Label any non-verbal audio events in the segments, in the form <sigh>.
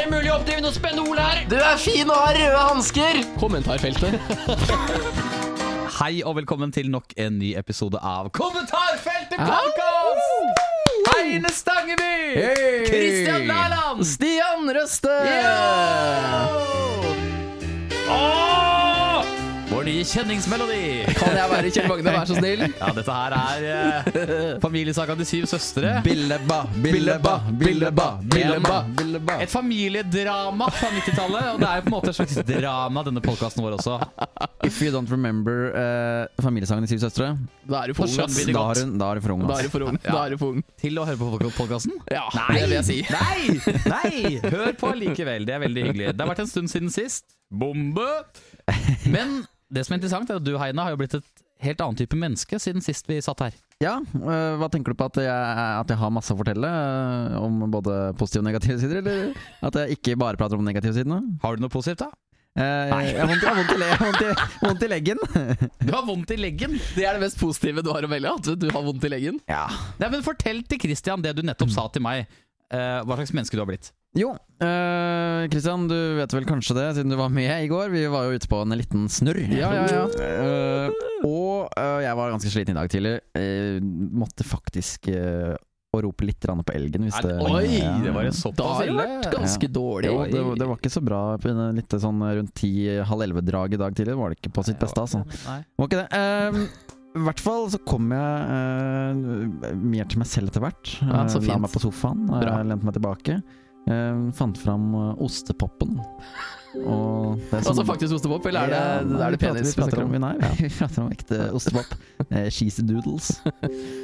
inn og spenne Ole her. Du er fin og har røde hansker! Kommentarfeltet. Hei og velkommen til nok en ny episode av Kommentarfeltet podcast! Heine Stangeby! Kristian Nærland! Stian Røste! Åh! Vår nye kjenningsmelodi! Kan jeg være Kjell Magne, vær så snill? Ja, dette her er eh, familiesaka til syv søstre. Billeba, billeba, billeba, billeba, billeba. Et familiedrama fra 90-tallet, og det er jo på en måte et slags drama denne podkasten vår også. If you don't remember eh, familiesangen i Syv søstre, <laughs> Da er du for ung, ass. da er hun, da er hun for ung. Da ass. er du for ung. Da er du for ung. Til å høre på podkasten? Ja, det vil jeg si. Nei! Nei! Hør på likevel, det er veldig hyggelig. Det har vært en stund siden sist. Bombe! Men det som er interessant, er at du, Heina, har jo blitt et helt annen type menneske siden sist vi satt her. Ja, eh, Hva tenker du på at jeg, at jeg har masse å fortelle eh, om både positive og negative sider? Eller at jeg ikke bare prater om de negative sidene? Har du noe positivt, da? Eh, jeg har vondt, jeg har vondt, i le- jeg har vondt, i- vondt i leggen. Du har vondt i leggen! Det er det mest positive du har å melde, at du har vondt i leggen. Ja. Nei, men Fortell til Christian det du nettopp sa til meg. eh, hva slags menneske du har blitt. Jo, eh, Christian, du vet vel kanskje det, siden du var med i går. Vi var jo ute på en liten snurr. Ja, ja, ja. Eh, og eh, jeg var ganske sliten i dag tidlig. Eh, måtte faktisk eh, å rope litt grann på elgen. Hvis det, Oi, Ja. det var jo Da såpass har det ille! vært ganske dårlig. Jo, det, var- det var ikke så bra på en- litt sånn rundt ti-halv elleve-drag i dag tidlig. Det var det ikke på sitt beste, altså. Nei. Var ikke det. Ehm, I hvert fall så kom jeg eh, mer til meg selv etter hvert. Ja, så Eh, La fint. meg på sofaen, Bra. eh, lente meg tilbake. Eh, fant fram eh, ostepopen. Og det er Altså sånn- faktisk ostepop, eller er Ja, det, nei, er det vi prater- penis vi prater om? om? Nei, <laughs> vi prater om ekte ostepop. Eh, cheesy doodles.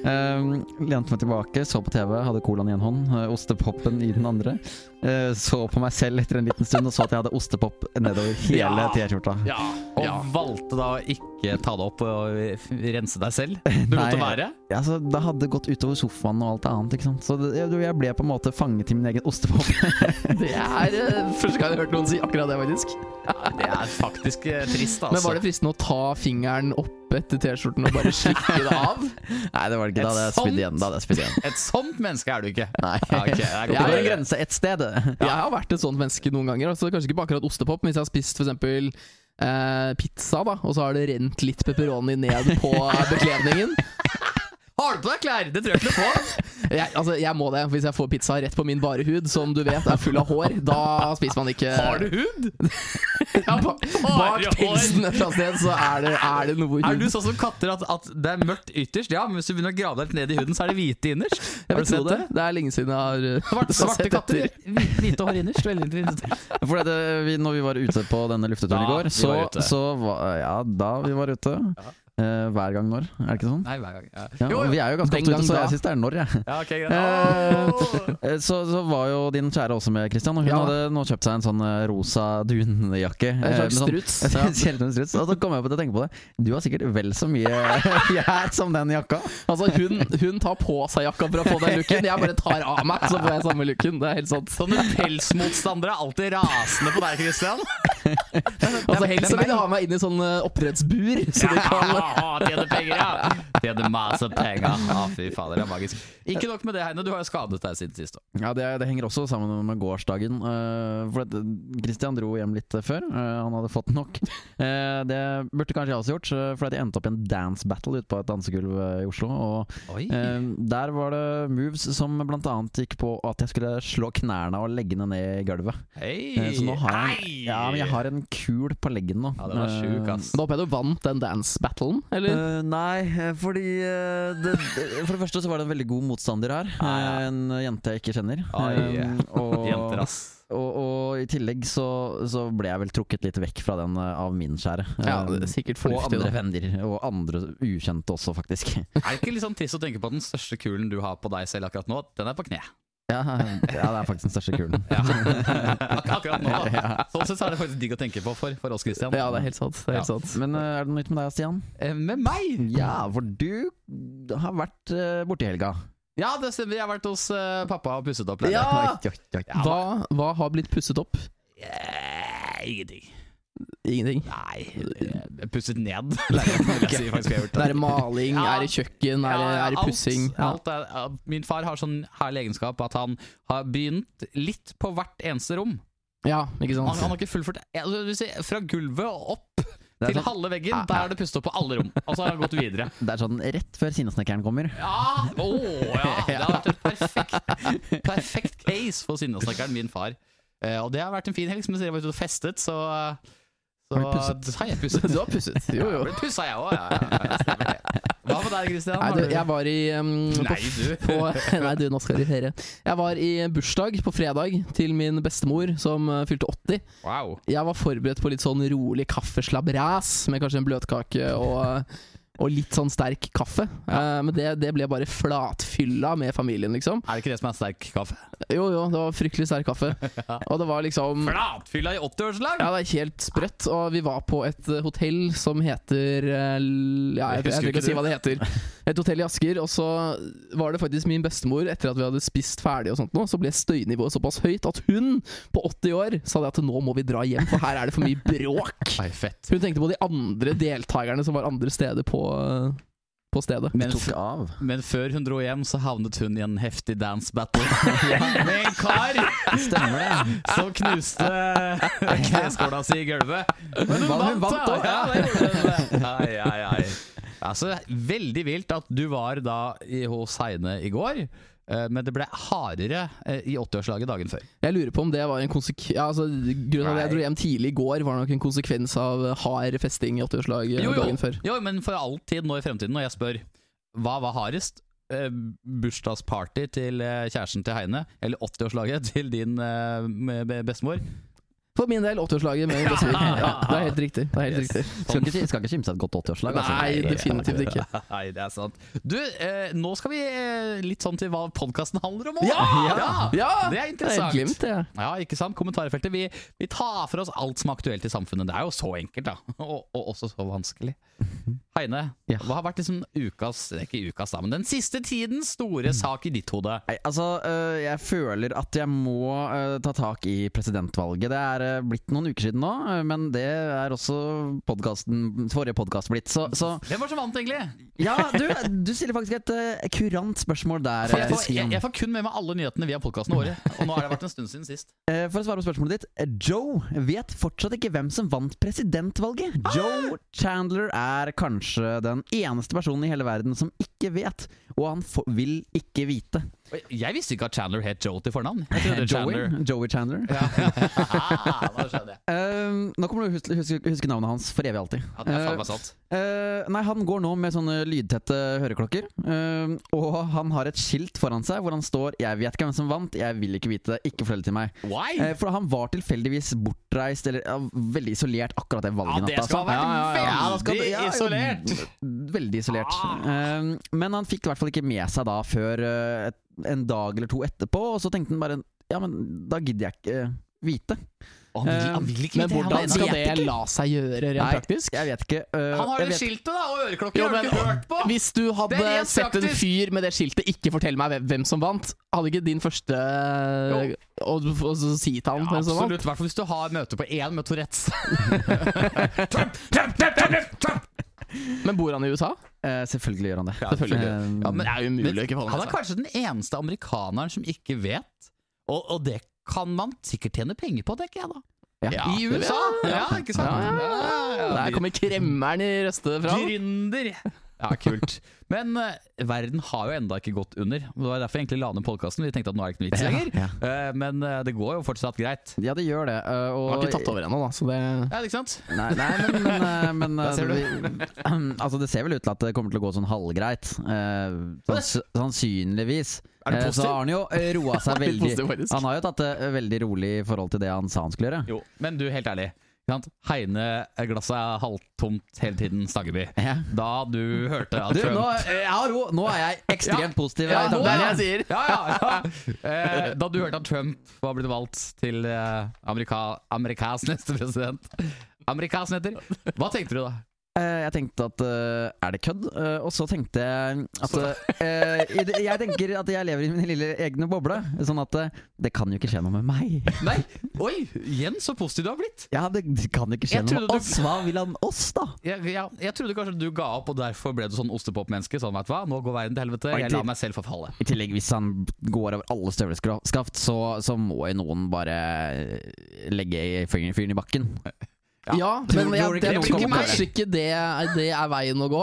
Um, lente meg tilbake, så på TV, hadde colaen i en hånd, eh, ostepopen i den andre. Eh, så på meg selv etter en liten stund og så at jeg hadde ostepop nedover hele Ja. T-skjorta. Ja. Og ja. valgte da å ikke ta det opp og f- rense deg <laughs> selv? Du lot det Nei. være? Ja, så det hadde det gått utover sofaen og alt annet. Ikke sant? Så det, jeg- jeg ble på en måte fanget i min egen ostepop. Det er eh, første gang jeg har hørt noen si akkurat det, faktisk. Det er faktisk eh, trist, altså. Men var det fristende å ta fingeren opp etter T-skjorten og bare slikke det av? Nei, det var det ikke. Da hadde jeg Et spydd sånt? igjen. Da hadde jeg spydd igjen. Et sånt menneske er du ikke. Nei. Ja, ok, det er godt å <laughs> Det går en høre. grense et sted. Jeg har vært et sånt menneske noen ganger. Altså, kanskje ikke på akkurat ostepop, men hvis jeg har spist f.eks. Eh, pizza, da, og så har det rent litt pepperoni ned <laughs> på eh, bekledningen. Har du på deg klær? Det tror jeg ikke noe på. Jeg, altså, jeg må det, for hvis jeg får pizza rett på min bare hud, som du vet er full av hår, da spiser man ikke Har du hud? ja, ba, Bak hår? pelsen et eller annet sted, så er det, er det noe Er hud. du sånn som katter at, at det er mørkt ytterst? Ja, men hvis du begynner å grave deg litt ned i huden, så er det hvite innerst. jeg Har vil du tro sett det. det? Det er lenge siden jeg har eh, Svarte, svarte sett katter, etter. hvi- hvite hår innerst. Veldig interessant. <laughs> For det, vi, når vi var ute på denne lufteturen Da i går, vi så, var ute. så var, eh, ja, da vi var ute eh, Hver gang når, er det ikke sånn? Nei, hver gang. Ja, Ja, jo, og jo. Vi er jo ganske Den ofte gang ute, så da. jeg syns det er når, <laughs> jeg. ja ok, Eh, greit. Eh, Så, så var jo din kjære også med, Christian, og hun Ja. hadde nå kjøpt seg en sånn eh, rosa dunjakke. En eh, slags med <laughs> sånn- struts. en spesielt en struts. Og så kom jeg på til å tenke på det. Du har sikkert vel så mye <laughs> fjær som den jakka. Altså, hun, hun tar på seg jakka for å få den looken. Jeg bare tar av meg, så får jeg samme looken. Det er helt sant. Sånne pelsmotstandere er alltid rasende på deg, Christian. Altså, helst så vil de ha meg inn i sånn eh, oppdrettsbur. Så de kan Ja, Tjene penger, ja! Tjene masse penger. Ja, fy fader, det er magisk. Ikke nok med det, Heine, du har jo skadet deg siden sist. også. Ja, det, det henger også sammen med gårsdagen. eh, for at Christian dro hjem litt eh, før. eh, han hadde fått <laughs> nok. Eh, det burde kanskje jeg også gjort, eh, for at jeg endte opp i en dance battle ute på et dansegulv eh, i Oslo. Og Oi. eh, der var det moves som bl.a. gikk på at jeg skulle slå knærne og leggene ned i gulvet. Eh, Hei. så nå har jeg, Hei! ja, men jeg har en kul på leggen nå. Ja, den var sjuk, ass. Da håper jeg du vant den dance-battlen, Eh, eller? eh, nei, eh, fordi eh, det, det- For det første så var det en veldig god motstander her. Ja, ja. eh, En jente jeg ikke kjenner. Oi. Eh, og- <laughs> Jenter, ass. Og, og i tillegg så, så ble jeg vel trukket litt vekk fra den eh, av min skjære. Ja, Eh, det er sikkert og fornuftig. andre Da. venner, og andre ukjente også, <laughs> faktisk. Er det ikke litt sånn trist å tenke på at den største kulen du har på deg selv akkurat nå, den er på kne? Ja, ja, det er faktisk den største <laughs> kulen. Ja. Ak <laughs> akkurat nå. da. Sånn sett så er det faktisk digg å tenke på for, for oss, Christian. Ja, det er helt sant. Det er helt sant. Men eh, er det noe nytt med deg, Stian? Eh, Med meg! Ja, for du har vært uh, borte i helga. Ja, det stemmer. Jeg har vært hos eh, pappa og pusset opp. Ja! leilighet. Oi, oi, oi. Hva, hva har blitt pusset opp? Eh, Ingenting. Ingenting. Nei, jeg pusset ned. <laughs> leiligheten, vil jeg si, faktisk, jeg har gjort Det er maling, Ja. er det kjøkken, er det, er det alt- pussing? Ja. alt er- ja, Min far har sånn herlig egenskap at han har begynt litt på hvert eneste rom. Ja, ikke Han, han sant? <laughs> har ikke fullført ja, altså, du ser, Fra gulvet og opp til Det er, sånn, halve veggen, der er det pustet opp på alle rom. Og så har han gått videre. det er sånn rett før sinnesnekkeren kommer. <laughs> Ja! Å ja! Det har vært et perfekt, perfekt case for sinnasnekkeren, min far. Eh, og det har vært en fin helg, som du sier, jeg var ute og festet, så, så Har du pusset? Har jeg pusset? Du har pusset. <laughs> Jo, jo. Ja, det pussa jeg òg, ja. ja, ja, stemmer det. Hva med deg, Christian? Nei, Har du, du- jeg var i um, på Nei, du. <laughs> på, nei, du, nå skal jeg referere. Jeg var i bursdag på fredag til min bestemor, som eh, fylte 80. Wow. Jeg var forberedt på litt sånn rolig kaffeslabberas, med kanskje en bløtkake og, og litt sånn sterk kaffe. Eh, men det, det ble bare flatfylla med familien, liksom. Er det ikke det som er sterk kaffe? Jo, jo, det var fryktelig sterk <laughs> kaffe. Og det var liksom Flatfylla i 80-årslag! ja, det er helt sprøtt. Og vi var på et eh, hotell som heter eh, l- ja, Jeg, jeg, Jeg husker tør ikke ikke å si det. hva det heter. Et hotell i Asker. Og så var det faktisk min bestemor, etter at vi hadde spist ferdig, og sånt nå, så ble støynivået såpass høyt at hun på 80 år sa det at nå må vi dra hjem, for her er det for mye bråk. Nei, fett. Hun tenkte på de andre deltakerne som var andre steder på, eh, på stedet. Det Men, tok av. men før hun dro hjem, så havnet hun i en heftig dance battle <laughs> med en kar Stemmer det. som knuste <laughs> kneskåla si i gulvet. Men hun Hva, hun vant, vant da! også? Ja, det gjorde hun. <laughs> Ai, ai, ai. Altså, veldig vilt at du var da i, hos Heine i går, eh, men det ble hardere eh, i 80-årslaget dagen før. Jeg lurer på om det var en konsekvens ja, altså, Grunnen til at jeg Nei. dro hjem tidlig i går, var nok en konsekvens av eh, hard festing i 80-årslaget Jo, jo. dagen før. Jo, men for alltid nå i fremtiden, når jeg spør hva var hardest, eh, bursdagsparty til eh, kjæresten til Heine, eller 80-årslaget til din eh, med- med bestemor For min del, 80-årslaget med Bessvik. <laughs> Ja, det er helt riktig. Det er helt riktig. <laughs> Skal ikke, skal ikke kimse av et godt 80-årslag. Altså. Nei, definitivt ikke. <laughs> Nei, det er sant. Du, eh, nå skal vi eh, litt sånn til hva podkasten handler om òg! Ja! Ja! Det er Det er interessant. helt glimt, det. Ja, ikke sant? Kommentarfeltet. Vi, vi tar for oss alt som er aktuelt i samfunnet. Det er jo så enkelt, da. <laughs> Og, og også så vanskelig. Heine, Ja. hva har vært liksom ukas det er Ikke ukas, da, men den siste tidens Mm. store sak i ditt hode? Nei, altså, øh, jeg føler at jeg må øh, ta tak i presidentvalget. Det er øh, blitt noen uker siden nå, øh, men det er også podcasten, forrige podkast blitt. Så, så Hvem var som vant, egentlig? ja, du, du stiller faktisk et øh, kurant spørsmål der. øh, For jeg, får, jeg, Stian. jeg får kun med meg alle nyhetene via podkasten våre. Og nå har det vært en stund siden sist. Eh, For å svare på spørsmålet ditt eh, Joe vet fortsatt ikke hvem som vant presidentvalget. Ah! Joe Chandler er kanskje den eneste personen i hele verden som ikke vet, og han fo- vil ikke vite. Og jeg- Jeg visste ikke at Chandler het Joe til fornavn. Jeg trodde <laughs> Chandler Joey, Joey Chandler. ja. <laughs> Ah, Nå skjønner jeg. Eh, nå kommer du huske, huske, huske navnet hans for evig alltid. Ja, det er faen meg sånn. sant. Eh, nei, han går nå med sånne lydtette høreklokker. eh, og han har et skilt foran seg hvor han står 'Jeg vet ikke hvem som vant, jeg vil ikke vite det, ikke fortell det til meg'. Why? Eh, for han var tilfeldigvis bortreist, eller ja, veldig isolert akkurat det Ja, valget altså. det skal ha vært veldig isolert. Veldig isolert. Eh, men han fikk i hvert fall ikke med seg da før eh, et, en dag eller to etterpå, og så tenkte han bare 'Ja, men da gidder jeg ikke eh, vite'. Og Han vil, han vil ikke eh, Men vite, han hvordan vet skal ikke. det la seg gjøre rent Nei, praktisk? Jeg vet ikke. eh, Han har jeg det vet- skiltet da, og øreklokke Jo, har du men- ikke hørt på! Hvis du Det er hadde rent sett en praktisk. fyr med det skiltet 'ikke fortell meg hvem- hvem som vant', hadde ikke din første Jo. Og du får også si til han hvem som vant? Absolutt, i hvert fall hvis du har møte på én med <laughs> Tourettes. Trump, Trump, Trump, Trump, Trump! Men bor han i USA? Eh, selvfølgelig gjør han det. Selvfølgelig. Eh, Ja, men det er jo umulig å ikke forholde Han er seg kanskje den eneste amerikaneren som ikke vet, og, og det kan man sikkert tjene penger på, tenker jeg da. Ja. I det USA! vet jeg. Ja, ikke sant? Ja, ja, Der kommer kremmeren i røstet fram. Gründer! Ja, kult. Men eh, verden har jo enda ikke gått under. Det var derfor jeg egentlig la ned podkasten. Vi tenkte at nå er det ikke noe vits lenger. Ja. Eh, men eh, det går jo fortsatt greit. Ja, det gjør det. eh, og, Han har ikke tatt over ennå, da. Så det Ja, ikke sant? Nei, nei, men, men, <laughs> eh, men Da eh, ser du. vi- <clears throat> altså, Det ser vel ut til at det kommer til å gå sånn halvgreit. eh, sanns, sannsynligvis. Er du Eh, så positiv? har han jo eh, <laughs> roa seg Litt veldig. positiv, faktisk. Han har jo tatt det eh, veldig rolig i forhold til det han sa han skulle gjøre. Jo, men du, helt ærlig. ikke Sant? Heine glasset er halvtomt hele tiden, Stageby. Ja. Da du hørte at Du, nå, Trump eh, jeg har ro! Nå er jeg ekstremt positiv. Ja, i det er tanken. det jeg sier. ja, ja, ja. Eh, Da du hørte at Trump var blitt valgt til eh, Amerika, Amerikas neste president Amerikas heter Hva tenkte du da? Eh, jeg tenkte at eh, er det kødd? Eh, og så tenkte jeg at eh, i det- Jeg tenker at jeg lever i min lille egne boble. Sånn at eh, det kan jo ikke skje noe med meg. Nei, oi! Igjen så positiv du har blitt. Ja, det kan jo ikke skje Jeg noe med trodde du- oss. Hva vil han oss, da? Jeg, jeg, jeg trodde kanskje du ga opp, og derfor ble du sånn ostepop-menneske. Sånn, vet du hva, nå går verden til helvete. Jeg lar meg selv forfalle. I tillegg, hvis han går over alle støvleskaft, så, så må jo noen bare legge fyren fyren i bakken. Ja, men Tror- tror jeg, ikke jeg det tror kommer kanskje ikke det er, det er veien å gå.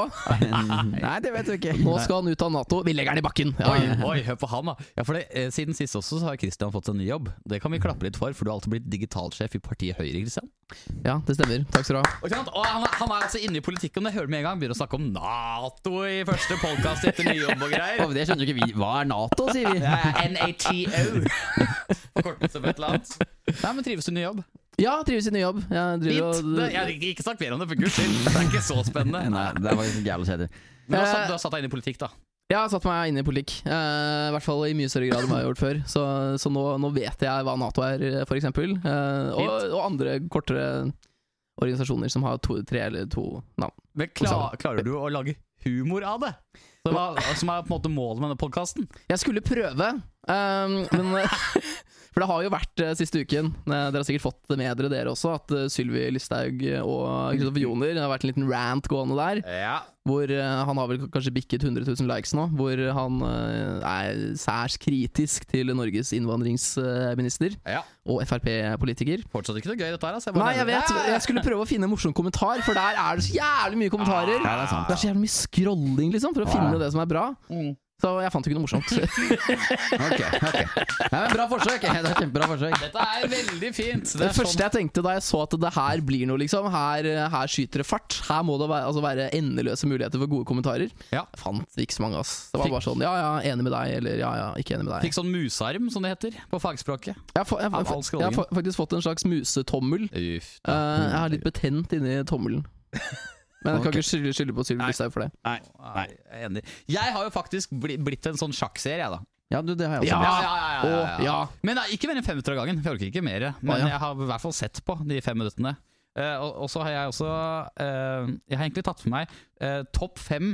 Nei, det vet du ikke. Nå skal han ut av Nato. Vi legger han i bakken! Ja, Oi, oi, hør på han, da. Ja, for det, eh, Siden sist også så har Christian fått seg ny jobb. Det kan vi klappe litt for, for du har alltid blitt digitalsjef i partiet Høyre. Christian ja det stemmer. Takk skal du ha. Og ikke sant? Og han, er- han er altså inne i politikken, det hører du med en gang. Begynner å snakke om Nato i første podkast etter ny jobb og greier. Og det skjønner jo ikke vi. Hva er Nato, sier vi. <laughs> Ja, ja, NATO. Forkortelse for et eller annet. Nei, men Trives du i ny jobb? Ja, trives i ny jobb. Jeg driver Fint! og Det- Jeg har ikke- ikke snakk mer om det, for guds skyld. Det er ikke så spennende. Nei, det var liksom jævla kjedelig. Men du har satt, du har satt deg inn i politikk, da. Jeg har satt meg inn i politikk, eh, i hvert fall i mye større grad enn hva jeg har gjort før. Så, så nå, nå vet jeg hva Nato er, f.eks. Eh, og, og andre kortere organisasjoner som har to, tre eller to navn. Men klar- klarer du å lage humor av det? Som er, som er på en måte målet med denne podkasten? Jeg skulle prøve, eh, men <laughs> For det har jo vært eh, siste uken, eh, dere har sikkert fått det med dere dere også, at eh, Sylvi Listhaug og Kristoffer Joner Det har vært en liten rant gående der. Ja. Hvor eh, han har vel k- kanskje bikket 100 000 likes nå. Hvor han eh, er særs kritisk til Norges innvandringsminister ja. og Frp-politiker. Fortsatt ikke noe gøy, dette her. Altså. Nei, jeg vet. Ja. Jeg skulle prøve å finne en morsom kommentar, for der er det så jævlig mye kommentarer. Ah, Ja, det er sant. Ah. Det er så jævlig mye scrolling, liksom, for å finne det som er bra. Mm. Så jeg fant ikke noe morsomt. <laughs> Ok, ok. Ja, men bra forsøk. Det var Kjempebra forsøk. Dette er veldig fint. Det er sånn- første jeg tenkte da jeg så at det her blir noe, liksom Her, her skyter det fart. Her må det være, altså, være endeløse muligheter for gode kommentarer. Ja. Jeg fant ikke så mange, ass. Det var Fikk- bare sånn ja ja, enig med deg, eller ja ja, ikke enig med sånn, deg. fikk sånn musearm, som det heter på fagspråket. Jeg har, fa- jeg, har Av all fa- jeg har fa- faktisk fått en slags musetommel. Uff. Eh, jeg har litt betent inni tommelen. <laughs> Men jeg kan Ok. ikke skylde, skylde på Sylvi Nei. Listhaug for det. Nei. Nei, jeg er enig. Jeg har jo faktisk bli, blitt en sånn sjakkseer, jeg, da. Ja, du, det har jeg også. Ja. ja, Å, ja. Men nei, ikke mer enn fem minutter av gangen. Jeg orker ikke mer. Men Å, ja. jeg har i hvert fall sett på de fem minuttene. Eh, og, og så har jeg også eh, Jeg har egentlig tatt for meg eh, topp fem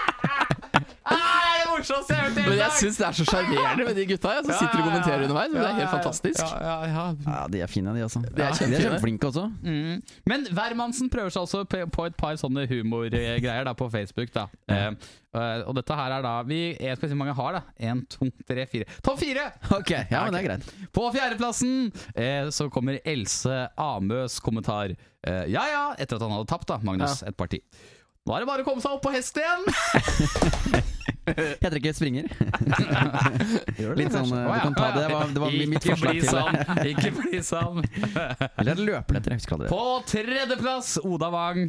<laughs> Ah, det er det morsomste jeg har hørt <laughs> i Men hele jeg dag! syns det er så sjarmerende med de gutta jeg, som Ja, sitter og ja, ja. kommenterer underveis. Men det er Ja, helt ja, fantastisk. Ja, ja, ja. Ja, de er fine, de også. er kjempefine. kjempeflinke også. Mm. Men hvermannsen prøver seg altså på på et par sånne humorgreier da på Facebook. da eh, eh, Og dette her er da vi, Jeg skal si hvor mange jeg har, da. Én, to, tre, fire. Topp fire! Ok, ja, men det er greit. På fjerdeplassen eh, så kommer Else Amøs kommentar. Eh, ja ja, etter at han hadde tapt, da, Magnus. Et parti. Nå er det bare å komme seg opp på hest igjen! Heter det ikke <laughs> Springer? Litt sånn, Å, eh, ja, du kan ta å, det. ja. Det var, det var mitt Ikke forslag bli til det. sånn, Ikke bli sånn! Eller løperletter, jeg husker aldri. det. På tredjeplass, Oda Wang.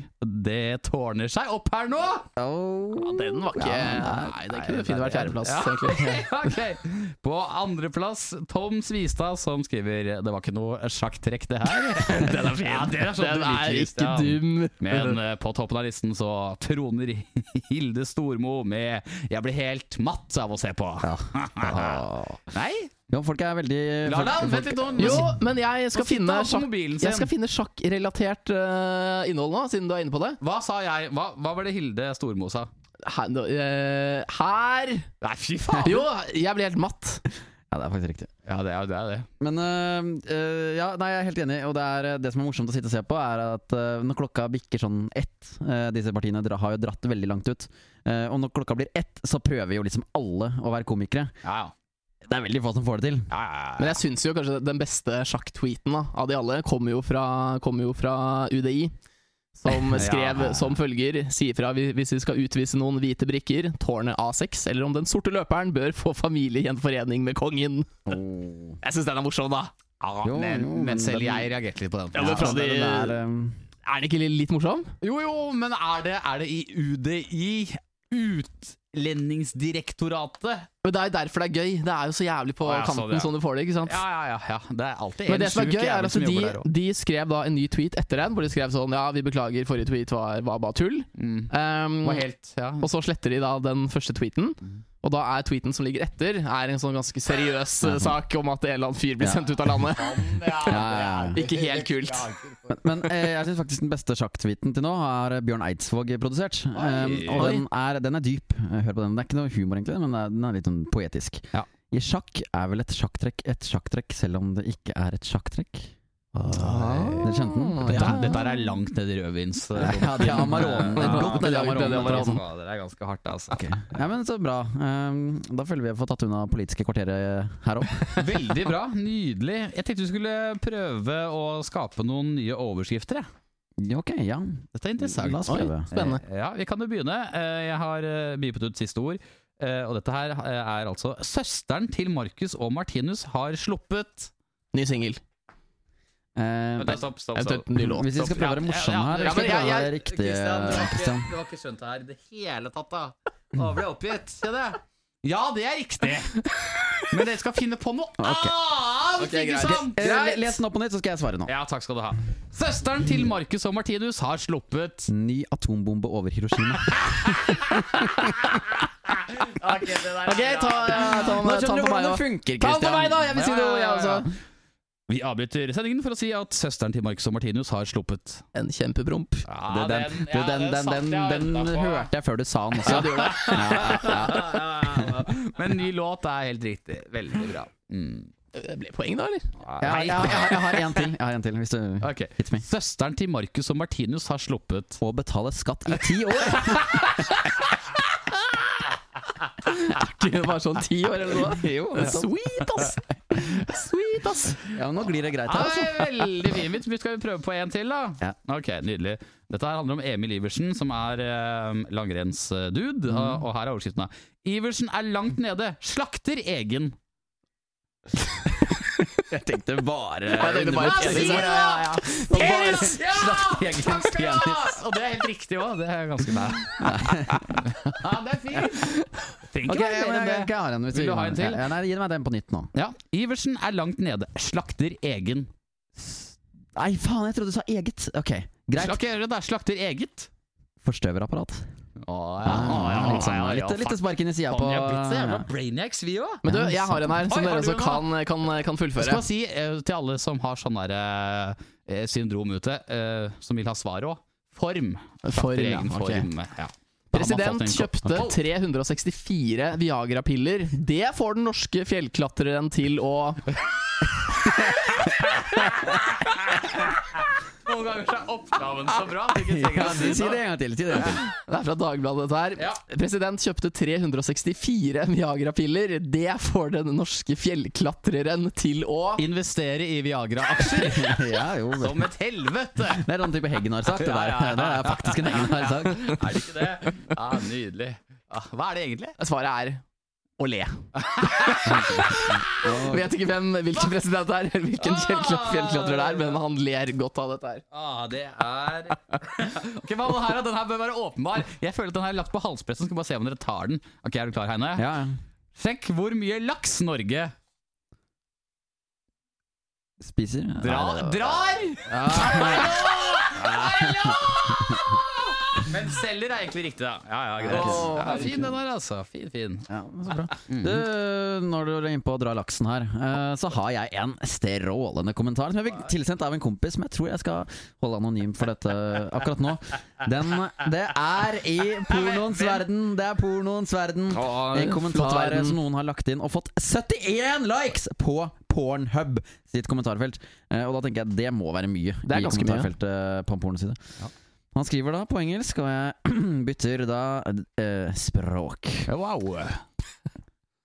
Det tårner seg opp her nå! Oh. Den var ikke Nei, det kunne fint vært fjerdeplass, Ja. egentlig. <laughs> Ok. På andreplass Tom Svistad, som skriver Det var ikke noe sjakktrekk, det her. Den er fin. Ja, den er, <laughs> sånn Den du liker, er ikke Christian. dum. Men eh, på toppen av listen så troner <laughs> Hilde Stormo med 'Jeg blir helt matt av å se på'. Ja. Ah. <laughs> Nei? Jo, folk er veldig La folk, det an, vent folk, litt nå. Jo, men jeg skal Nå sitter finne han på sjakk mobilen sin. Jeg skal finne sjakkrelatert eh, innhold nå, siden du er inne på det. Hva sa jeg? Hva, hva var det Hilde Stormo sa? Her, nå, eh, her. Nei, fy faen! Jo, jeg ble helt matt. Ja, det er faktisk riktig. Ja, det er det. Er det. Men øh, øh, ja, nei, jeg er helt enig. Og det, er, øh, det som er morsomt å sitte og se på, er at øh, når klokka bikker sånn ett øh, Disse partiene dra, har jo dratt veldig langt ut. øh, og når klokka blir ett, så prøver jo liksom alle å være komikere. Ja, ja. Det er veldig få som får det til. ja, ja, ja. Men jeg syns jo kanskje den beste sjakktweeten da, av de alle kommer jo fra, kommer jo fra UDI. <laughs> Som skrev Ja. som følger Si ifra vi- hvis vi skal utvise noen hvite brikker, tårnet A6, eller om den sorte løperen bør få familiegjenforening med kongen. Jeg syns den er morsom, da. Ja, Jo, men, jo, men men selv den- jeg reagerte litt på den. Ja, men fra så de- den er, øh, Er den ikke litt morsom? Jo, jo, men er det, er det i UDI ut Utlendingsdirektoratet. Men det er jo derfor det er gøy. Det er jo så jævlig på Å, ja, sånn, kanten ja. som du får det. ikke sant? Ja, ja, ja, ja. Det er alltid Men det en som er sjuk gøy, er jævel at som jobber de, der også. de skrev da en ny tweet etter den, hvor de skrev sånn Ja, vi beklager, forrige tweet var, var bare tull. Mm. Ehm, Var helt, ja. og så sletter de da den første tweeten. Mm. Og da er tweeten som ligger etter, Er en sånn ganske seriøs eh, sak om at en eller annen fyr blir Ja. sendt ut av <laughs> landet. <laughs> Ja, eh, ja, ja. Ikke helt kult. <laughs> Men, men eh, jeg syns faktisk den beste sjakktweeten til nå har Bjørn Eidsvåg produsert. Eh, og Oi. den er, den er dyp. Eh, Hør på den. Det er ikke noe humor, egentlig, men det er- den er litt sånn poetisk. Ja. I sjakk er vel et sjakktrekk et sjakktrekk, selv om det ikke er et sjakktrekk? Ah. Dere kjente den? Ah, Dette, ja. dette her er langt ned i rødvins... eh, <laughs> Ja, det er Amarone. Det er godt ned i Amarone, Det er Amarone. altså. Fader, det er ganske hardt, altså. Ja, men Så bra. Um, da føler vi vi har fått tatt unna politiske kvarteret eh, her òg. Veldig bra. Nydelig. Jeg tenkte du skulle prøve å skape noen nye overskrifter. Jeg. Ok, ja. Dette er interessant. La oss prøve. Spennende. Eh, <laughs> Ja, vi kan jo begynne. Eh, Jeg har eh, bipet ut siste ord. Eh, Og dette her eh, er altså Søsteren til Marcus og Martinus har sluppet Ny singel. Eh, Vent, da, Stopp, stopp, Eventuelt stopp. en ny låt. hvis vi skal prøve å være morsomme Ja, her, vi skal men jeg- prøve å være jeg- riktige, Christian. du har ikke skjønt det her i det hele tatt, da. Nå ble jeg oppgitt. Se det. Ja, det er riktig. Men dere skal finne på noe Ok. annet, Ok, greit. ikke sant? Eh, Les den opp på nytt, så skal jeg svare nå. Ja, takk skal du ha. Søsteren til Marcus og Martinus har sluppet Ny atombombe <laughs> over Hiroshima. Ok, ta, ja, ta, den- ta den på meg òg. funker, Ta den på meg, da! Jeg vil si det, Ja, altså. ja, jeg ja, ja. også. Vi avbryter sendingen for å si at søsteren til Marcus og Martinus har sluppet. En <laughs> kjempepromp. Ja, den, den, den, den, den, den, <laughs> hørte jeg før du sa den også. Ja, det gjorde det. Ja, ja. Men ny låt er helt riktig. Veldig bra. Mm. Det ble poeng, da, eller? Jeg, Nei. jeg, jeg, har- jeg har en til, jeg har en til hvis du Ok. hits me. Søsteren til Marcus og Martinus har sluppet. Å betale skatt i ti <laughs> år! Du var sånn ti år eller noe. Jo, Sweet, ass! <laughs> Sweet, ass! ja, men Nå glir det greit Ja, her, det altså. er veldig fin vits. Vi Skal vi prøve på en til, da? Ja. Ok, Nydelig. Dette her handler om Emil Iversen, som er eh, langrennsdude. Og, og her er overskriften. da. Iversen er langt nede, slakter <laughs> egen. Jeg tenkte bare penis, ja, ja, ja. Penis! Ja! Slakter egen Takk skal du ha! penis. Og det er helt riktig òg. Det er ganske bra. <laughs> Ja, det er fint. Trenger Ok, ikke jeg, være mer jeg, enn det. har en hvis Vil du ha en til? Ja, nei, Gi meg den på nytt nå. Ja, Iversen er langt nede, slakter egen. Nei, faen, jeg trodde du sa eget. Ok, Greit. Slakter, det er slakter eget. Forstøverapparat. Å, Ja, litt, sånn, Ah, ja, ja, litt, litt faen. spark inn i sida Faen, på Vi har blitt så jævla ja. brainiacs, vi òg. Men du, jeg har en her som Oi, har dere du også en, kan, kan, kan Jeg skal fullføre. bare si eh, til alle som har sånn der eh, syndrom ute, eh, som vil ha svar òg Form. For, Til ja, egen ok. form. Ja. Da har man President fått en kopp. kjøpte 364 Viagra-piller. Det får den norske fjellklatreren til å <laughs> Noen ganger så er oppgaven så bra. at du <laughs> ikke trenger Ja, å Si si si det det. <laughs> en gang til. Si det en gang til. Det er fra Dagbladet, dette her. Ja. President kjøpte 364 Viagra-piller. Det får den norske fjellklatreren til å Investere i <laughs> Viagra-aksjer Ja, jo. som et helvete! Det er den type Heggen har sagt. Det Ja, der, ja, ja. det er faktisk en Heggen har sagt. Er det ikke det? Ja, Nydelig. Ja, Hva er det egentlig? Svaret er å le. Og- Vet ikke hvem, hvilken president det er, eller hvilken fjellkla- fjellklatrer det er, men han ler godt av dette her. Ah, det er <laughs> Ok, hva med den her? da? Den her bør være åpenbar. Jeg føler at den her er lagt på halspressen. Skal bare se om dere tar den. Ok, Er du klar, Heine? Ja, ja. Sjekk hvor mye laks Norge Spiser? dra Nei, det- drar! Hallo! Hallo! <laughs> Men selger er egentlig riktig, da. Ja, ja, greit. Å, Ja, fin den her, altså. Fin, fin. Ja, så bra. Mm. Du, når du er inne på å dra laksen her, eh, så har jeg en strålende kommentar som jeg fikk tilsendt av en kompis, men jeg tror jeg skal holde anonym for dette akkurat nå. Den, det er i pornoens verden! Det er pornoens verden. En kommentar verden. som noen har lagt inn og fått 71 likes på Pornhub sitt kommentarfelt. Eh, Og da tenker jeg det må være mye Det er i ganske mye. kommentarfeltet på en pornoside. Ja. Han skriver da på engelsk, og jeg <clears throat> bytter da eh, språk. Wow.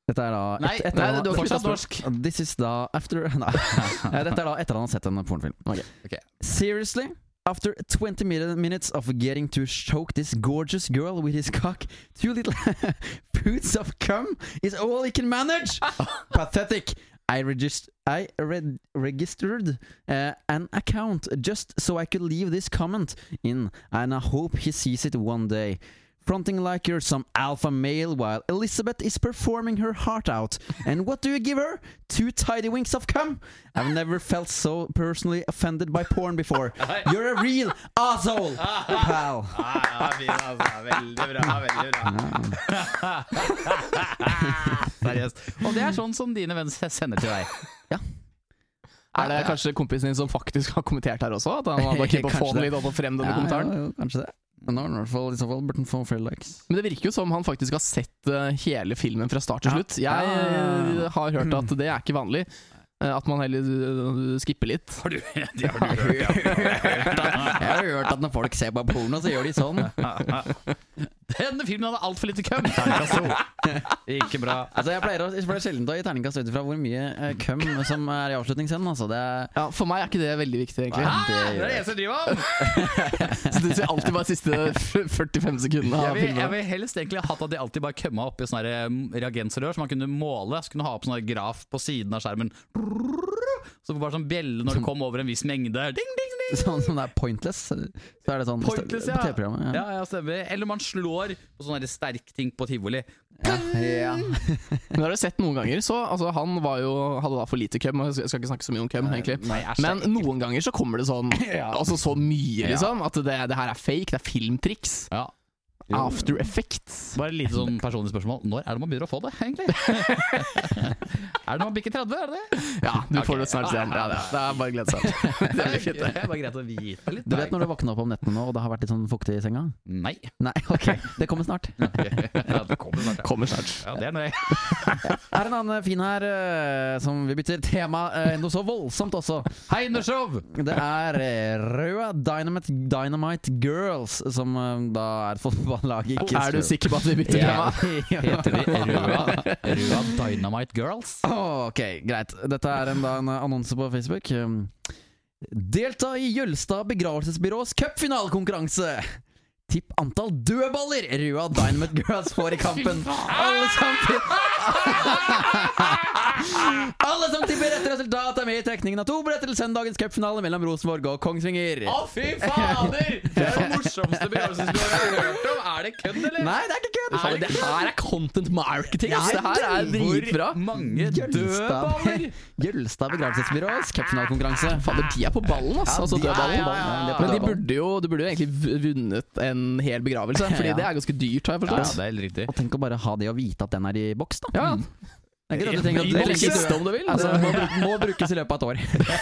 Dette er da et- Nei, etter nei, han- du har dette fortsatt er da- norsk. This is da after <laughs> Nei. Eh, Dette er da etter han har sett en pornofilm. Ok. Seriously? After 20 min- minutes of getting to choke this gorgeous girl with his cock, two little <laughs> boots of cum is all he <laughs> can manage! Pathetic. I, regist- I re- registered uh, an account just so I could leave this comment in, and I hope he sees it one day. fronting like you're some alpha male while Elizabeth is performing her heart out. And what do you give her? Two tidy winks of cum? I've never felt so personally offended by porn before. You're a real asshole, pal. Ja, fin, altså. Veldig bra, veldig Ah. bra. <laughs> Seriøst. Og det er sånn som dine venner sender til deg. Er det kanskje kompisen din som faktisk har kommentert her også? At han <laughs> var bare keen på å få Kanskje den det. litt opp og frem, denne kommentaren? jo, kanskje det. Men nå har den i hvert fall, i så fall burde den få flere likes. Men det virker jo som han faktisk har sett eh, hele filmen fra start til Ja. slutt. Ja, Jeg ja, ja, Mm. ja. eh, har hørt at det er ikke vanlig. eh, At man heller eh, skipper litt. Har du, det har du hørt, ja. <laughs> Jeg har hørt at når folk ser på porno, så gjør de sånn. Denne filmen hadde altfor lite køm! Terningkast to. <laughs> Ikke bra. Altså Jeg pleier, å, jeg pleier sjelden å gi terningkast ut ifra hvor mye eh, køm som er i avslutningsscenen. Altså, det er Ja, For meg er ikke det veldig viktig, egentlig. Nei. Ah, det er det eneste jeg driver om! <laughs> Så det ser alltid bare <laughs> siste f- 45 sekundene Jeg av vil, jeg filmen. vil helst egentlig ha hatt at de alltid bare kømma oppi sånne her, eh, reagensrør som man kunne måle. Så kunne du ha opp sånn her graf på siden av skjermen. Så bare sånn bjelle når det kom over en viss mengde. Ding, ding, ding. <laughs> sånn som det er pointless. Så er det sånn Pointless, på TV-programmet. Ja, ja, stemmer. Eller man slår på sånne her sterkting på tivoli. Ja. Ja. Men har du sett noen ganger, så altså, Han var jo, hadde da for lite køm, og jeg skal ikke snakke så mye om køm, egentlig. Nei, æsj, Men det er ekkelt. noen ganger så kommer det <laughs> sånn Altså så mye, liksom. At det, det her er fake, det er filmtriks. ja. After effects. Bare et lite sånn personlig spørsmål. Når er det man begynner å få det, egentlig? <laughs> er det når man bikker 30, er det det? Ja, du Ok. får det snart se. Ja, det det er bare å <laughs> glede seg. Det er fint, det. Det er bare greit å vite litt. Du vet når du våkner opp om nettene nå, og det har vært litt sånn fuktig i senga? Nei. <laughs> Nei, ok, det kommer snart. ja, det kommer snart, ja. Kommer snart. ja, det er når jeg Her er en annen fin her, eh, som vi bytter tema eh, noe så voldsomt også. Hei, Nesjov! Det er eh, Røa Dynamite, Dynamite Girls, som eh, da er et fotballag i ikke Er du sikker på at vi bytter tema? Ja. <laughs> Heter de Røa, Røa Dynamite Girls? Åh, Ok, greit. Dette er en, da, en annonse på Facebook. Um, Delta i Jølstad begravelsesbyrås cupfinalekonkurranse! Tipp antall dødballer Rua Dynamite Girls får i kampen. Alle som, tipp- <laughs> Alle som tipper rett resultat, er med i trekningen av to billetter til søndagens cupfinale mellom Rosenborg og Kongsvinger. Å, fy fader! Det er det morsomste begravelsesbyrået jeg har hørt om! Er det kødd, eller? Nei, det er ikke kødd! Er det, det her er content marketing! Ja, ass. Det her er dritbra. Hvor mange dødballer? Jølstad, <laughs> Jølstad begravelsesbyrås cupfinalekonkurranse. Fader, de er på ballen, ass. Altså, de er på dødballen. ballen. Ja, de er på Men de dødballen. burde jo, du burde jo egentlig vunnet en hel begravelse, fordi Ja. det er ganske dyrt, har jeg Ja, forstått. det er helt riktig. Og tenk å bare ha det og vite at den er i boks, da. Mm. Ja, Det er ikke det at du tenker at Eller det boks, kiste, om du vil. Altså, må, Altså, bruk- må brukes i løpet <laughs> av et år.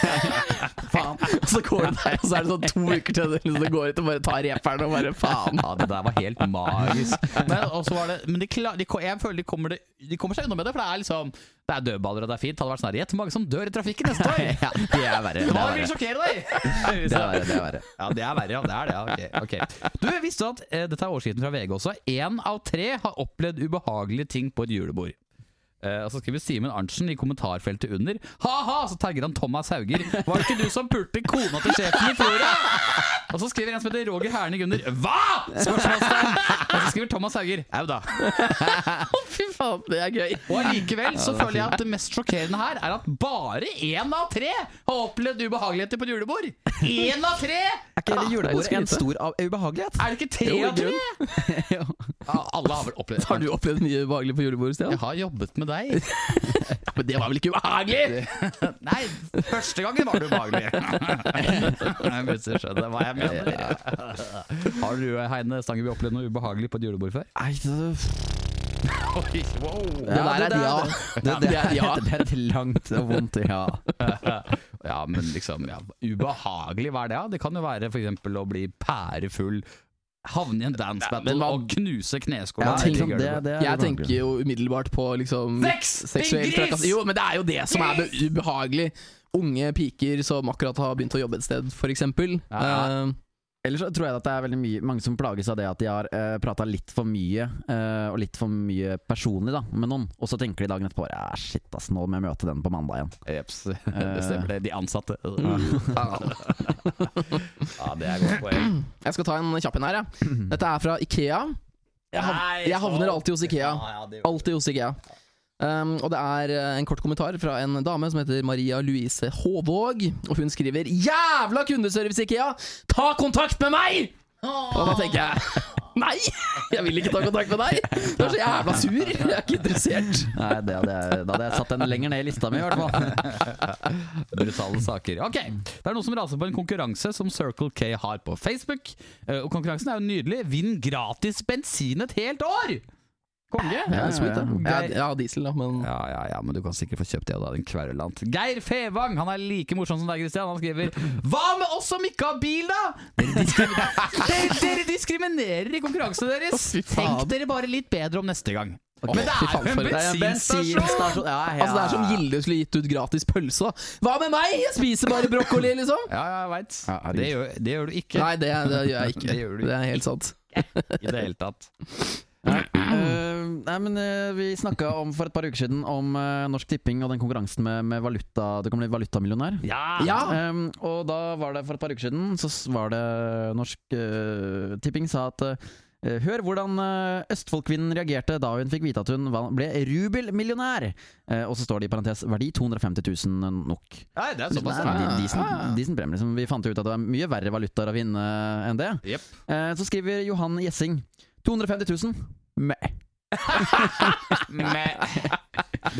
Faen. Altså, så går det der, og så er det sånn to uker til det liksom, går ut og bare tar reperen og bare faen. Ja, det der var helt magisk. Men, også var det, men de klar, de, ko- jeg føler de kommer, det, de kommer seg unna med det, for det er liksom Det er dødballer, og det er fint. Det hadde vært sånn her Gjett hvor mange som dør i trafikken neste <laughs> år! Ja, det er verre. Det er Hva vil verre. sjokkere deg? Det er verre, det er verre. Ja, det er verre, ja. Det er det, ja. Ok, ok. Du, visste du at eh, Dette er overskriften fra VG også. Én av tre har opplevd ubehagelige ting på et julebord. Eh, og så skriver Simen Arntzen i kommentarfeltet under. Ha-ha! Så tagger han Thomas Hauger. Var det ikke du som pulte kona til sjefen i fjor, da? Og så skriver en som heter Roger Herning under. Hva?! Spørsmålstegn. Og så skriver Thomas Hauger. Au da. Å, fy faen, det er gøy. Og allikevel så føler jeg at det mest sjokkerende her er at bare én av tre har opplevd ubehageligheter på et julebord! Én av tre! Er ikke hele ganske julebordet en lite. stor av ubehagelighet? Er det ikke tre Jo, av tre? <laughs> Jo. Ja, alle har vel opplevd Har du opplevd mye ubehagelig på julebordet, Stian? Jeg har jobbet med deg. Men det var vel ikke ubehagelig? <laughs> Nei, første gangen var det <laughs> ubehagelig. Jeg plutselig skjønner hva jeg mener. Har du, Heine Stangeby, opplevd noe ubehagelig på et julebord før? Nei, det- Oi, wow. Det der er et ja. Det, det, Det er et ja. <laughs> det er et langt og vondt ja. Ja, men liksom ja. Ubehagelig, hva er det? da? Det kan jo være f.eks. å bli pærefull, havne i en dance battle men man- og knuse kneskåla. Ja, tenk om det, det er Jeg tenker ubehagelig. jo umiddelbart på liksom Sex! seksuell Din gris! trakass- Jo, men det er jo det som er be- ubehagelig. Unge piker som akkurat har begynt å jobbe et sted, Eh, f.eks. Ja. Ellers så tror jeg at det er veldig mye, mange som plages av det at de har uh, prata litt for mye, eh, og litt for mye personlig da, med noen, og så tenker de dagen etterpå Ja, shit, ass, nå må jeg møte den på mandag igjen. Jeps, <laughs> det stemmer det. De <laughs> ansatte. Ja, det er godt poeng. Jeg skal ta en kjapp en her. Jeg. Dette er fra Ikea. Jeg, hav Nei, jeg havner så- alltid hos Ikea. ja, det- Alltid hos Ikea. Um, og det er eh, en kort kommentar fra en dame som heter Maria Louise Håvåg. Og hun skriver 'Jævla kundeservice, Ikea! Ta kontakt med meg!' Og da tenker jeg Nei! Jeg vil ikke ta kontakt med deg! Du er så jævla sur! Jeg er ikke interessert. Nei, det hadde jeg, da hadde jeg satt den lenger ned i lista mi, i <laughs> hvert fall. Brutale saker. Ok, Det er noen som raser på en konkurranse som Circle K har på Facebook. Eh, Og konkurransen er jo nydelig. Vinn gratis bensin et helt år! Konge! Ja, sweet, da. Geir- Jeg, jeg har diesel, da, men Ja, ja, ja, men du kan sikkert få kjøpt det da, din kverulant. Geir Fevang han er like morsom som deg, Christian. Han skriver Hva med oss som ikke har bil, da?! Dere, diskrim- <laughs> dere, dere diskriminerer i konkurransene Å, deres! fy faen. Tenk dere bare litt bedre om neste gang. Ok, Men det fy faen, er jo en for- det Det er en bensinstasjon! bensinstasjon. Ja, ja. Altså Det er som Gilde skulle gitt ut gratis pølse. da. Hva med meg? Jeg spiser bare brokkoli, liksom! Ja, ja, jeg veit. Ja, herregud. Det, gjør- det gjør du ikke Nei, det, det gjør jeg ikke. Det gjør du Det er helt sant. i det hele tatt. Nei, <clears throat> eh, nei, men eh, vi snakka om for et par uker siden om eh, Norsk Tipping og den konkurransen med, med valuta. Du kan bli valutamillionær. Ja! Ja! Ehm, og da var det for et par uker siden, så s- var det Norsk eh, Tipping sa at eh, Hør hvordan eh, Østfoldkvinnen reagerte da hun fikk vite at hun va- ble rubelmillionær! Eh, og så står det i parentes verdi 250 000 nok. Nei, det er såpass, Nei, da. de- decent- Ah. decent premie, liksom. Vi fant jo ut at det var mye verre valutaer å vinne enn det. Jepp. Eh, så skriver Johan Gjessing 250 000. Meh. <laughs> Det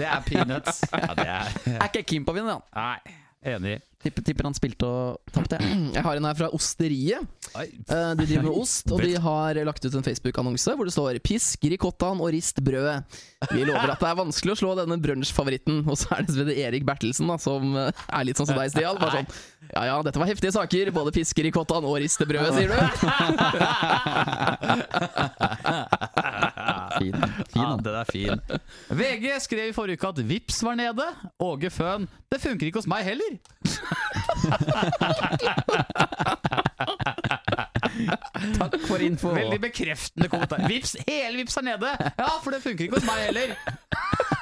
er peanuts. Ja, det er Er ikke keen på å vinne, han. Nei, enig. Tipper, tipper han spilte og tapte. jeg. Jeg har en her fra Osteriet. Eh, De driver med ost, og de har lagt ut en Facebook-annonse hvor det står 'Pisk ricottaen og rist brødet'. Vi lover at det er vanskelig å slå denne brunsjfavoritten. Og så er det selvfølgelig Erik Bertelsen, da, som eh, er litt sånn som deg, Stian. Bare sånn 'Ja ja, dette var heftige saker. Både piske ricottaen og riste brødet', sier du. Fin, fin Ja, han. den er <laughs> fin. VG skrev i forrige uke at Vips var nede. Åge Føhn det funker ikke hos meg <laughs> heller. Takk for info. Veldig bekreftende kommentar. Vips, hele Vips er nede! Ja, for det funker ikke hos meg heller.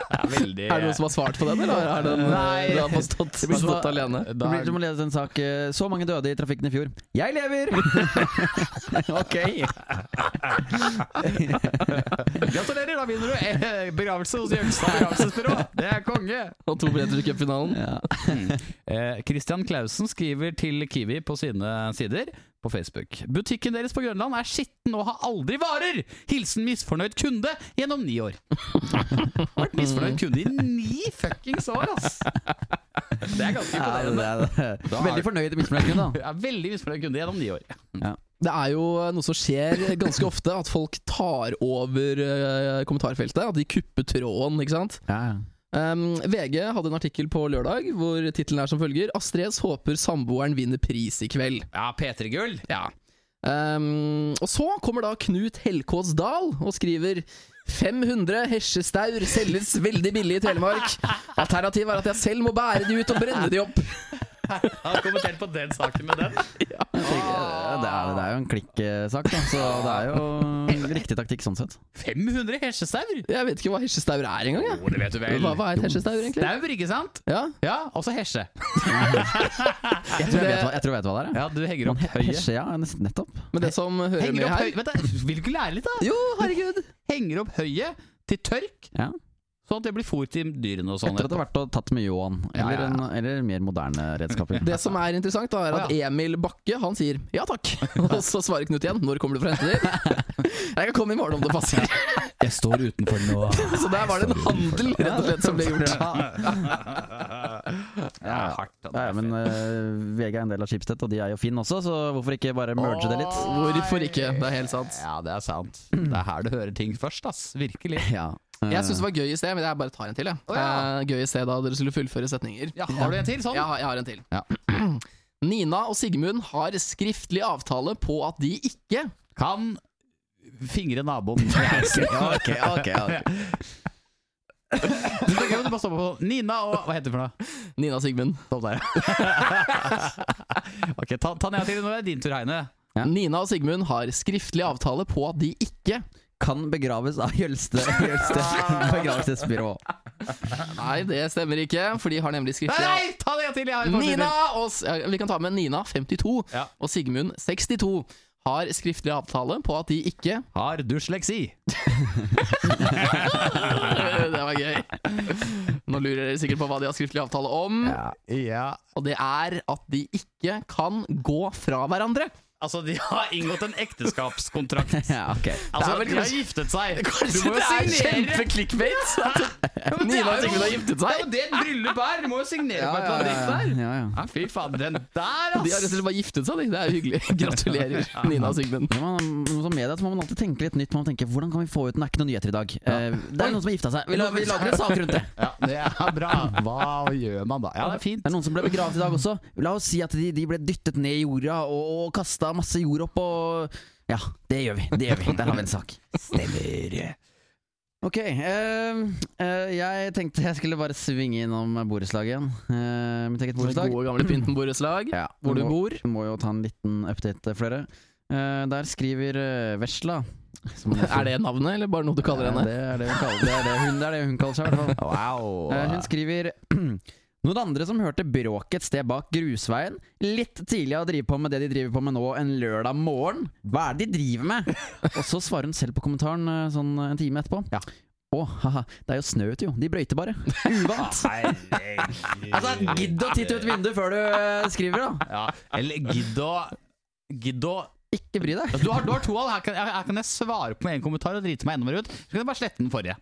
Ja, veldig Er det noen som har svart på den, eller er den Nei. du har forstått, blir så- forstått alene? <laughs> Det blir som å lese en sak eh, 'Så mange døde i trafikken i fjor'. Jeg lever! ok. <laughs> Gratulerer, da vinner du eh, begravelse hos Jøgstad begravelsesbyrå. Det er konge. Og to billetter til cupfinalen. <laughs> Eh, Christian Clausen skriver til Kiwi på sine sider på Facebook. Butikken deres på Grønland er skitten og har aldri varer! Hilsen misfornøyd kunde gjennom ni <laughs> år. Vært misfornøyd kunde i ni fuckings år, ass! Det er ganske Ja, det imponerende. er, Da er- veldig fornøyd i misfornøyd, da. Jeg er veldig misfornøyd kunde gjennom ni år. Det er jo noe som skjer ganske ofte, at folk tar over eh, kommentarfeltet. At de kupper tråden, ikke sant. Ja, ja. Um, VG hadde en artikkel på lørdag hvor tittelen er som følger 'Astrid S håper samboeren vinner pris i kveld'. Ja, P3 Gull. Ja. Um, og så kommer da Knut Helkås Dahl og skriver 500 hesjestaur selges veldig billig i Telemark. Alternativet er at jeg selv må bære de ut og brenne de opp. Har kommentert på den saken med den. Jeg tenker, eh, Det, er, det er jo en klikksak, da, så det er jo riktig taktikk sånn sett. 500 hesjestaur! Jeg vet ikke hva hesjestaur er engang. jeg. Jo, det vet du vel. Hva, hva er et hesjestaur, egentlig? Staur, ikke sant? Ja, Ja, også hesje. Jeg tror jeg vet hva, jeg tror jeg vet hva det er. Ja, du henger opp høyet. Hesje, ja. nesten- Nettopp. Men det som hører Henger med opp her høyet. Vent, da, vil du ikke lære litt, da? Jo, herregud! henger opp høyet til tørk, Ja. sånn at det blir fôr til dyrene og sånn. Etter at det har vært og tatt med ljåen, Ja, eller, ja, en- eller mer moderne redskaper. Det som er interessant, da, er at Å, Emil Bakke han sier ja takk. <laughs> Og så svarer Knut igjen når kommer du for å hente dem? <laughs> Jeg kan komme i morgen om det passer. Jeg står utenfor <laughs> nå. Så der var det en handel rett og slett som ble gjort. Det er hardt. altså. da. Ja, ja, men eh, VG er en del av Schibsted, og de er jo Finn også, så hvorfor ikke bare merge det litt? Hvorfor ikke? Det er helt sant. Ja, det er sant. Det er her du hører ting først, ass. Virkelig. Ja. Jeg syns det var gøy i sted, men jeg bare tar en til. Jeg. Å, ja. Eh, Gøy i sted da dere skulle fullføre setninger. Ja, har du en til sånn? Jeg har, jeg har en til. Ja. <clears throat> Nina og Sigmund har skriftlig avtale på at de ikke Kan fingre <laughs> naboen. Ja, Eh, ok, <laughs> ok, ok. Du tenker jo du bare stopper på sånn. Nina og Hva heter det for noe? Nina og Sigmund. Stopp der. Ok, ta, ta ned til. Nå er det din tur, Heine. Ja. Nina og Sigmund har skriftlig avtale på at de ikke Kan begraves av Jølste, Jølste Ah. begravelsesbyrå. Nei, det stemmer ikke, for de har nemlig skriftlig av- Nei, ta ned til. Jeg har en fortid til. Nina og, S- ja, Vi kan ta med Nina, 52, Ja. og Sigmund, 62, har skriftlig avtale på at de <laughs> ikke <laughs> Har dysleksi. Det var gøy. Nå lurer dere sikkert på hva de har skriftlig avtale om, Ja. og det er at de ikke kan gå fra hverandre. Altså, de har inngått en ekteskapskontrakt. <laughs> Ja, ok. Altså, vel de har kanskje- giftet seg. Du Kanskje må jo det er signere! kjempe-clickbait? men det Nina og er jo- Sigmund har giftet Det er seg? jo det et bryllup er! Du må jo signere Ja, på et eller ja, annet dritt der. Eh, ja, ja. Ja, fy faen, den der, De har rett og ass! slett bare giftet seg, de. Det er jo <laughs> hyggelig. Gratulerer, Nina og Sigmund. Ja, man, man- som media så må man alltid tenke litt nytt. Man må tenke, Hvordan kan vi få ut den? Det er ikke noen nyheter i dag. Eh, det er noen som har gifta seg. Vi lager, vi lager en sak rundt det. Ja, det er bra. Hva gjør man da? Ja, det er fint. <laughs> Det er noen som ble begravet i dag også. La oss si at de, de ble dyttet ned i jorda og, og kasta masse jord opp og Ja, det gjør vi. Det gjør vi. Der har vi en sak. Stemmer. <laughs> Ok, ehm, eh, jeg tenkte jeg skulle bare svinge innom borettslaget igjen. Eh, mitt eget Vårt borettslag. gode, gamle pyntenborettslag. Ja, Hvor du må- bor. Må jo ta en liten update eh, for dere. Eh, der skriver eh, Vesla <laughs> som hun Er det navnet, eller bare noe du kaller henne? Det er det hun kaller, det er det hun, det er det hun kaller seg, i hvert fall. Wow. Eh, Hun skriver <clears throat> noen andre som hørte bråket et sted bak grusveien. Litt tidlig å drive på med det de driver på med nå en lørdag morgen. Hva er det de driver med? Og så svarer hun selv på kommentaren eh, sånn en time etterpå. Ja. Å, haha, det er jo snø ute, jo. De brøyter bare. Uvant. Altså, gidd å titte ut vinduet før du eh, skriver, da. Ja, eller gidd å Gidd å Ikke bry deg. altså, du, har, du har to valg. Her kan, her kan jeg svare på en kommentar og drite meg enda mer ut. Så kan jeg bare slette den forrige.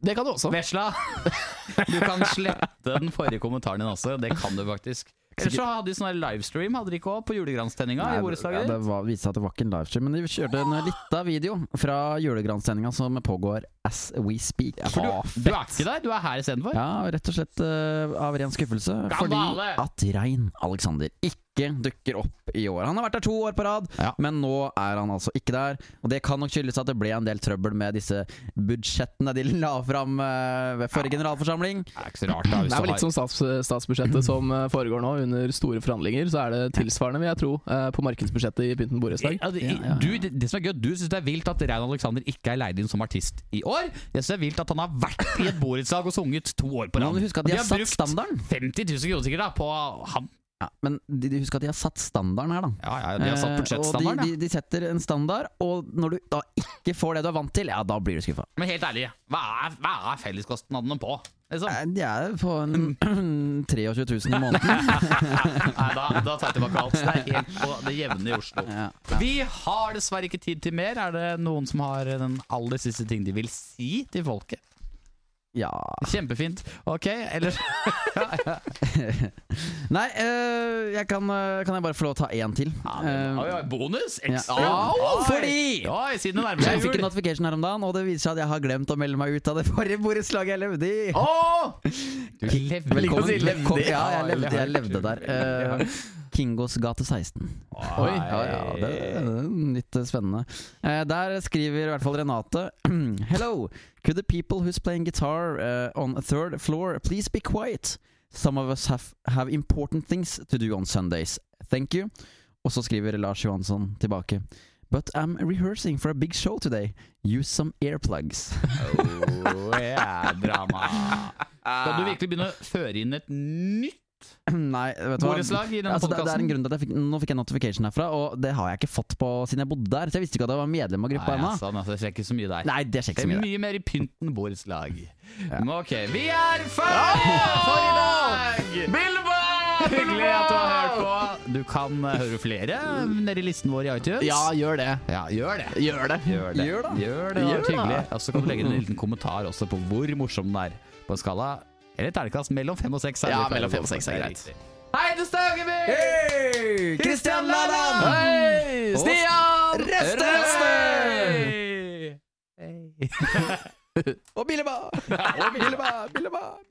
Det kan du også. Vesla, du kan slette den forrige kommentaren din også. Det kan du faktisk. Ellers så hadde de sånn her livestream hadde de ikke også, på julegranstenninga i ja, borettslaget. det var, viste seg at det var ikke en livestream, men de kjørte en lita video fra julegranssendinga som pågår as we speak. For du, du er ikke der, du er her istedenfor. Ja, rett og slett eh, av ren skuffelse. Fordi Skandale! at Rein Alexander ikke dukker opp i år. Han har vært der to år på rad, Ja. men nå er han altså ikke der. Og det kan nok skyldes at det ble en del trøbbel med disse budsjettene de la fram eh, ved forrige generalforsamling. Det er ikke så rart, da. Det Hvis er vel du litt har som stats, statsbudsjettet som eh, foregår nå, under store forhandlinger. Så er det tilsvarende, vil jeg tro, eh, på markedsbudsjettet i Pynten borettslag. Ja, det, Du, det, det som er gøy, du syns det er vilt at Rein Alexander ikke er leid inn som artist i år. Jeg syns det er vilt at han har vært i et borettslag og sunget to år på Men rad. husk at de, har satt brukt standarden. 50 000 kroner sikkert da, på ham. Ja, men de, de husk at de har satt standarden her, da. Ja, ja, de har satt Eh, budsjettstandarden. Og ja. de, de, de setter en standard, og når du da ikke får det du er vant til, ja, da blir du skuffa. Men helt ærlig, hva er, hva er felleskostnadene på? Liksom? Nei, De er på en <clears throat> 23 000 i måneden. <laughs> Nei, da, da tar jeg tilbake alt. Det er helt på det jevne i Oslo. Ja. Vi har dessverre ikke tid til mer. Er det noen som har den aller siste ting de vil si til folket? ja. Kjempefint. Ok, eller Nei, eh, jeg kan, eh, kan jeg bare få lov å ta én til? Eh, Oi, oi, Bonus? Ekstra? Ja. Oi, Fordi- Oi, siden det nærmer jeg seg fikk en jul. notification her om dagen, og det viser seg at jeg har glemt å melde meg ut av det forrige borettslaget jeg levde i. Åh! Du levde å si levde. velkommen. Ja, jeg levde, jeg levde der. Eh, Kingos gate 16. Oi. Ja, ja, det er litt eh, spennende. Eh, der skriver i hvert fall Renate <clears throat> Hello, could the people who's playing guitar eh, on a third floor please be quiet? Some of us have, have important things to do on Sundays. Thank you. Og så skriver Lars Johansson tilbake. But I'm rehearsing for a big show today. Use some earplugs. <clears throat> Oh, yeah, drama. Skal du virkelig begynne å føre inn et nytt Nei, vet du hva. borettslag i denne Altså, det, det er en podcasten? grunn til at jeg fikk, Nå fikk jeg notification herfra, og det har jeg ikke fått på siden jeg bodde der. Så jeg visste ikke at jeg var medlem av gruppa Nei, ennå. altså, altså, det skjer ikke så mye der. Nei, det skjer Det ikke er så mye. mye mer i pynten borettslag. Men ok, vi er ferdige for i dag! Bilbo! Hyggelig at du har hørt på. Du kan eh, høre flere nede i listen vår i iTunes. Ja, gjør det. Ja, gjør det. Gjør det. Gjør det. Gjør da. Gjør det, det har vært Gjør da. hyggelig. Og så kan du legge inn en liten kommentar også på hvor morsom den er. På en skala eller terningkast mellom fem og seks. er det Ja, vi pleier mellom å fem gå og seks for. er Det greit. riktig. Hei til Staugeby! Hei! Kristian Ladan! Hei! Stian! Røste! Hei! Hei! Og Billeba! Og Billeba, Billeba,